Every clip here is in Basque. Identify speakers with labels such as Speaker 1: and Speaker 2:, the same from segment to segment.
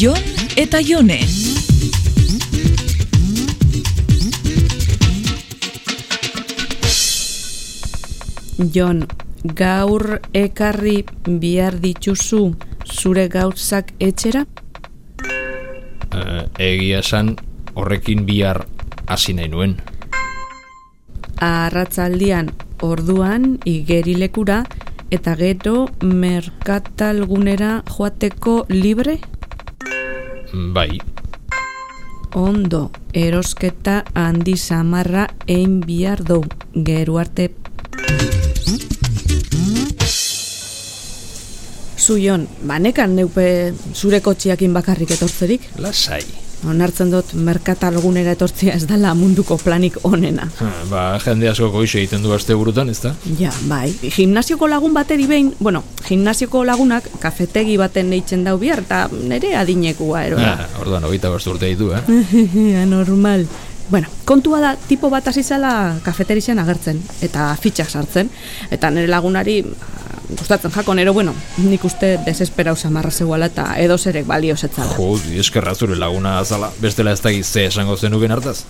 Speaker 1: Jon eta Jone.
Speaker 2: Jon, gaur ekarri bihar dituzu zure gauzak etxera?
Speaker 3: Eh, egia esan horrekin bihar hasi nahi nuen.
Speaker 2: Arratzaldian orduan igerilekura eta gero merkatalgunera joateko libre?
Speaker 3: Bai,
Speaker 2: Ondo, erosketa handi samarra egin bihar dou, geru arte. Zuion, banekan neupe zure kotxiakin bakarrik etortzerik?
Speaker 3: lasai.
Speaker 2: Onartzen dut merkatalgunera etortzea ez dala munduko planik onena.
Speaker 3: Ha, ba, jende asko goixe egiten du aste burutan, ez da?
Speaker 2: Ja, bai. Gimnasioko lagun bateri behin, bueno, gimnasioko lagunak kafetegi baten deitzen dau bihar, eta nere adinekua eroa.
Speaker 3: Ha, Ah, orduan, hogeita bost urte ditu, eh?
Speaker 2: Mm. Anormal. Bueno, kontua da, tipo bat hasi zela kafeterixen agertzen, eta fitxak sartzen, eta nire lagunari ah, gustatzen jakon, ero, bueno, nik uste desesperau samarra zeuala eta edozerek balio zetzala.
Speaker 3: Jo, eskerra zure laguna azala, bestela ez dakit ze esango zenuken hartaz.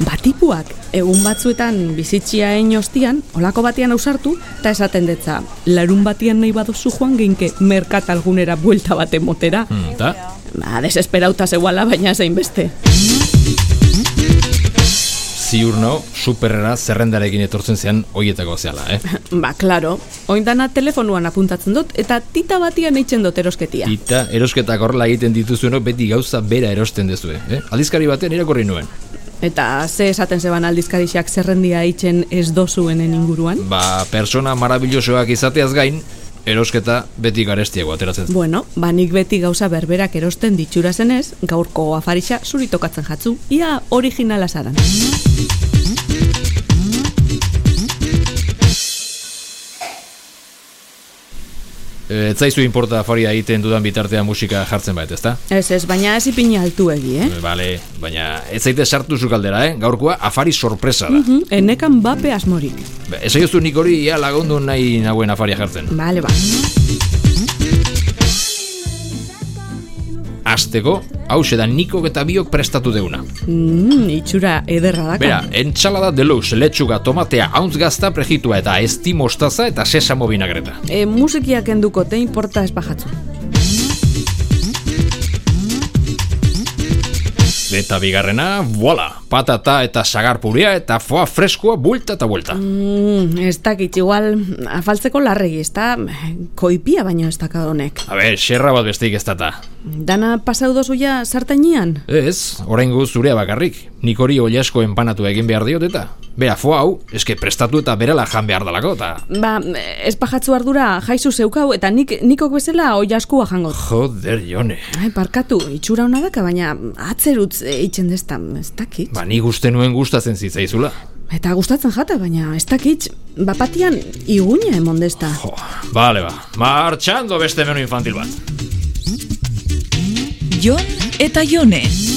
Speaker 2: Batipuak, Bai, ba, egun batzuetan bizitzia egin ostian, olako batean ausartu, eta esaten detza, larun batian nahi baduzu joan geinke merkatalgunera buelta bat emotera.
Speaker 3: Hmm, ta?
Speaker 2: Ba, desesperauta zeuala, baina zein beste.
Speaker 3: Ziur nao, superera zerrendarekin etortzen zean hoietako zeala, eh?
Speaker 2: Ba, klaro, oindana telefonuan apuntatzen dut, eta tita batian eitzen dut erosketia.
Speaker 3: Tita, erosketak horrela egiten dituzueno beti gauza bera erosten dezue, eh? Aldizkari batean irakurri nuen.
Speaker 2: Eta ze esaten zeban aldizkarixak zerrendia eitzen ez dozuenen inguruan?
Speaker 3: Ba, persona marabillosoak izateaz gain, erosketa beti garestiago ateratzen.
Speaker 2: Bueno, ba nik beti gauza berberak erosten ditxura zenez, gaurko afarixa zuri tokatzen jatzu, ia originala zaran.
Speaker 3: E, ez zaizu inporta afaria egiten dudan bitartea musika jartzen bait, ezta?
Speaker 2: Ez ez, baina ez ipini altuegi, eh?
Speaker 3: E, Bale, baina ez zaite sartu zukaldera, eh? Gaurkoa afari sorpresa da.
Speaker 2: Mhm, Enekan bape asmorik.
Speaker 3: Ba, Ez aioztu nik hori ia lagundu nahi nagoen afaria jartzen.
Speaker 2: Bale, ba.
Speaker 3: Azteko, hause da nikok eta biok prestatu deuna.
Speaker 2: Mm, itxura ederra
Speaker 3: Bera,
Speaker 2: daka.
Speaker 3: entxalada deluxe, letxuga, tomatea, hauntz gazta, prejitua eta ezti mostaza eta sesamo binagreta.
Speaker 2: E, musikiak enduko te inporta ez bajatzu.
Speaker 3: Eta bigarrena, voila, patata eta sagar purea eta foa freskoa bulta eta buelta.
Speaker 2: Mm, ez dakit, igual, afaltzeko larregi, ez da, koipia baino ez daka honek.
Speaker 3: A ber, xerra bat besteik ez data.
Speaker 2: Dana pasau dozuia sartainean?
Speaker 3: Ez, oraingo zurea bakarrik. Nik hori oliasko enpanatu egin behar diot eta. Bera, foa hau, eske prestatu eta berala jan behar dalako eta...
Speaker 2: Ba, ez pajatzu ardura jaizu zeukau eta nik, nikok bezala oi askua jango.
Speaker 3: Joder, jone.
Speaker 2: Ai, parkatu, itxura hona daka, baina atzerutz eh, itxen desta, ez dakit.
Speaker 3: Ba, nik uste nuen gustatzen zitzaizula.
Speaker 2: Eta gustatzen jata, baina ez dakit, bapatian iguña emondesta.
Speaker 3: Jo, bale ba. Martxando beste menu infantil bat.
Speaker 1: Jon eta Jone.